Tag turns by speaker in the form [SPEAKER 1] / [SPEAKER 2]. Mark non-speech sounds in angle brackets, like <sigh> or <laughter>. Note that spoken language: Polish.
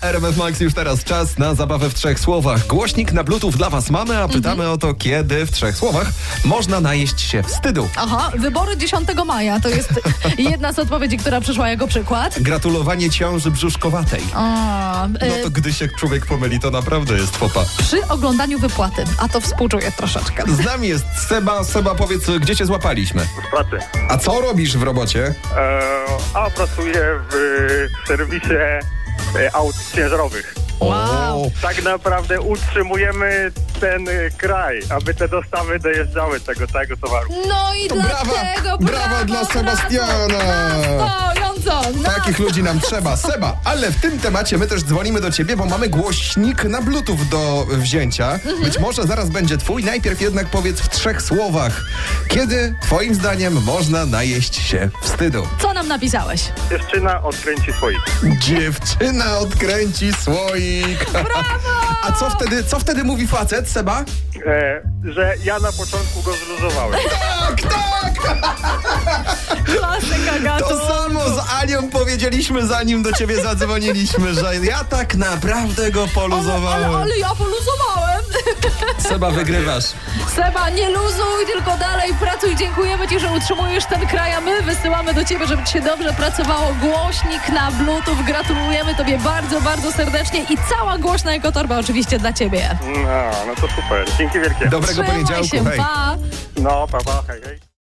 [SPEAKER 1] RMF Max już teraz czas na zabawę w trzech słowach. Głośnik na Bluetooth dla Was mamy, a pytamy o to, kiedy w trzech słowach można najeść się wstydu.
[SPEAKER 2] Aha, wybory 10 maja to
[SPEAKER 1] <laughs>
[SPEAKER 2] jest jedna z odpowiedzi, która przyszła jako przykład.
[SPEAKER 1] Gratulowanie ciąży brzuszkowatej.
[SPEAKER 2] A, e,
[SPEAKER 1] No to gdy się człowiek pomyli, to naprawdę jest fopa.
[SPEAKER 2] Przy oglądaniu wypłaty, a to współczuję troszeczkę.
[SPEAKER 1] Z nami jest Seba. Seba, powiedz, gdzie cię złapaliśmy?
[SPEAKER 3] w pracy.
[SPEAKER 1] A co robisz w robocie?
[SPEAKER 3] E, a pracuję w, e, serwisie e, aut ciężarowych.
[SPEAKER 2] Wow.
[SPEAKER 1] O,
[SPEAKER 3] Tak naprawdę utrzymujemy ten e, kraj, aby te dostawy dojeżdżały tego, tego towaru.
[SPEAKER 2] No i
[SPEAKER 1] To brawa,
[SPEAKER 2] dlatego
[SPEAKER 1] brawa
[SPEAKER 2] brawo,
[SPEAKER 1] dla
[SPEAKER 2] brawo,
[SPEAKER 1] Sebastiana.
[SPEAKER 2] brawo, Stojąco! No.
[SPEAKER 1] Takich ludzi nam trzeba. Seba, ale w tym temacie my też dzwonimy do ciebie, bo mamy głośnik na Bluetooth do wzięcia.
[SPEAKER 2] Mhm.
[SPEAKER 1] Być może zaraz będzie twój. Najpierw jednak powiedz w trzech słowach, kiedy twoim zdaniem można najeść się wstydu.
[SPEAKER 2] Co nam napisałeś?
[SPEAKER 3] Dziewczyna odkręci swoich.
[SPEAKER 1] Dziewczyna odkręci słoik. A co wtedy, co wtedy mówi facet, Seba?
[SPEAKER 3] E, że ja na początku go zluzowałem.
[SPEAKER 1] Tak, tak!
[SPEAKER 2] Klasyka gatu.
[SPEAKER 1] To samo z Anią powiedzieliśmy, zanim do ciebie zadzwoniliśmy, że ja tak naprawdę go
[SPEAKER 2] Ale, ale,
[SPEAKER 1] poluzowałem.
[SPEAKER 2] ale ja poluzowałem.
[SPEAKER 1] Seba, wygrywasz.
[SPEAKER 2] Seba, nie luzuj, tylko dalej pracuj. Dziękujemy Ci, że utrzymujesz ten kraj, a my wysyłamy do Ciebie, żeby Ci się dobrze pracowało. Głośnik na Bluetooth. Gratulujemy Tobie bardzo, bardzo serdecznie i cała głośna ekotorba oczywiście dla Ciebie.
[SPEAKER 3] Mm, No, no to super. Dzięki wielkie.
[SPEAKER 1] Dobrego
[SPEAKER 2] Trzymaj
[SPEAKER 1] poniedziałku,
[SPEAKER 2] się,
[SPEAKER 1] hej.
[SPEAKER 2] pa!
[SPEAKER 3] No, pa, pa, hej, hej.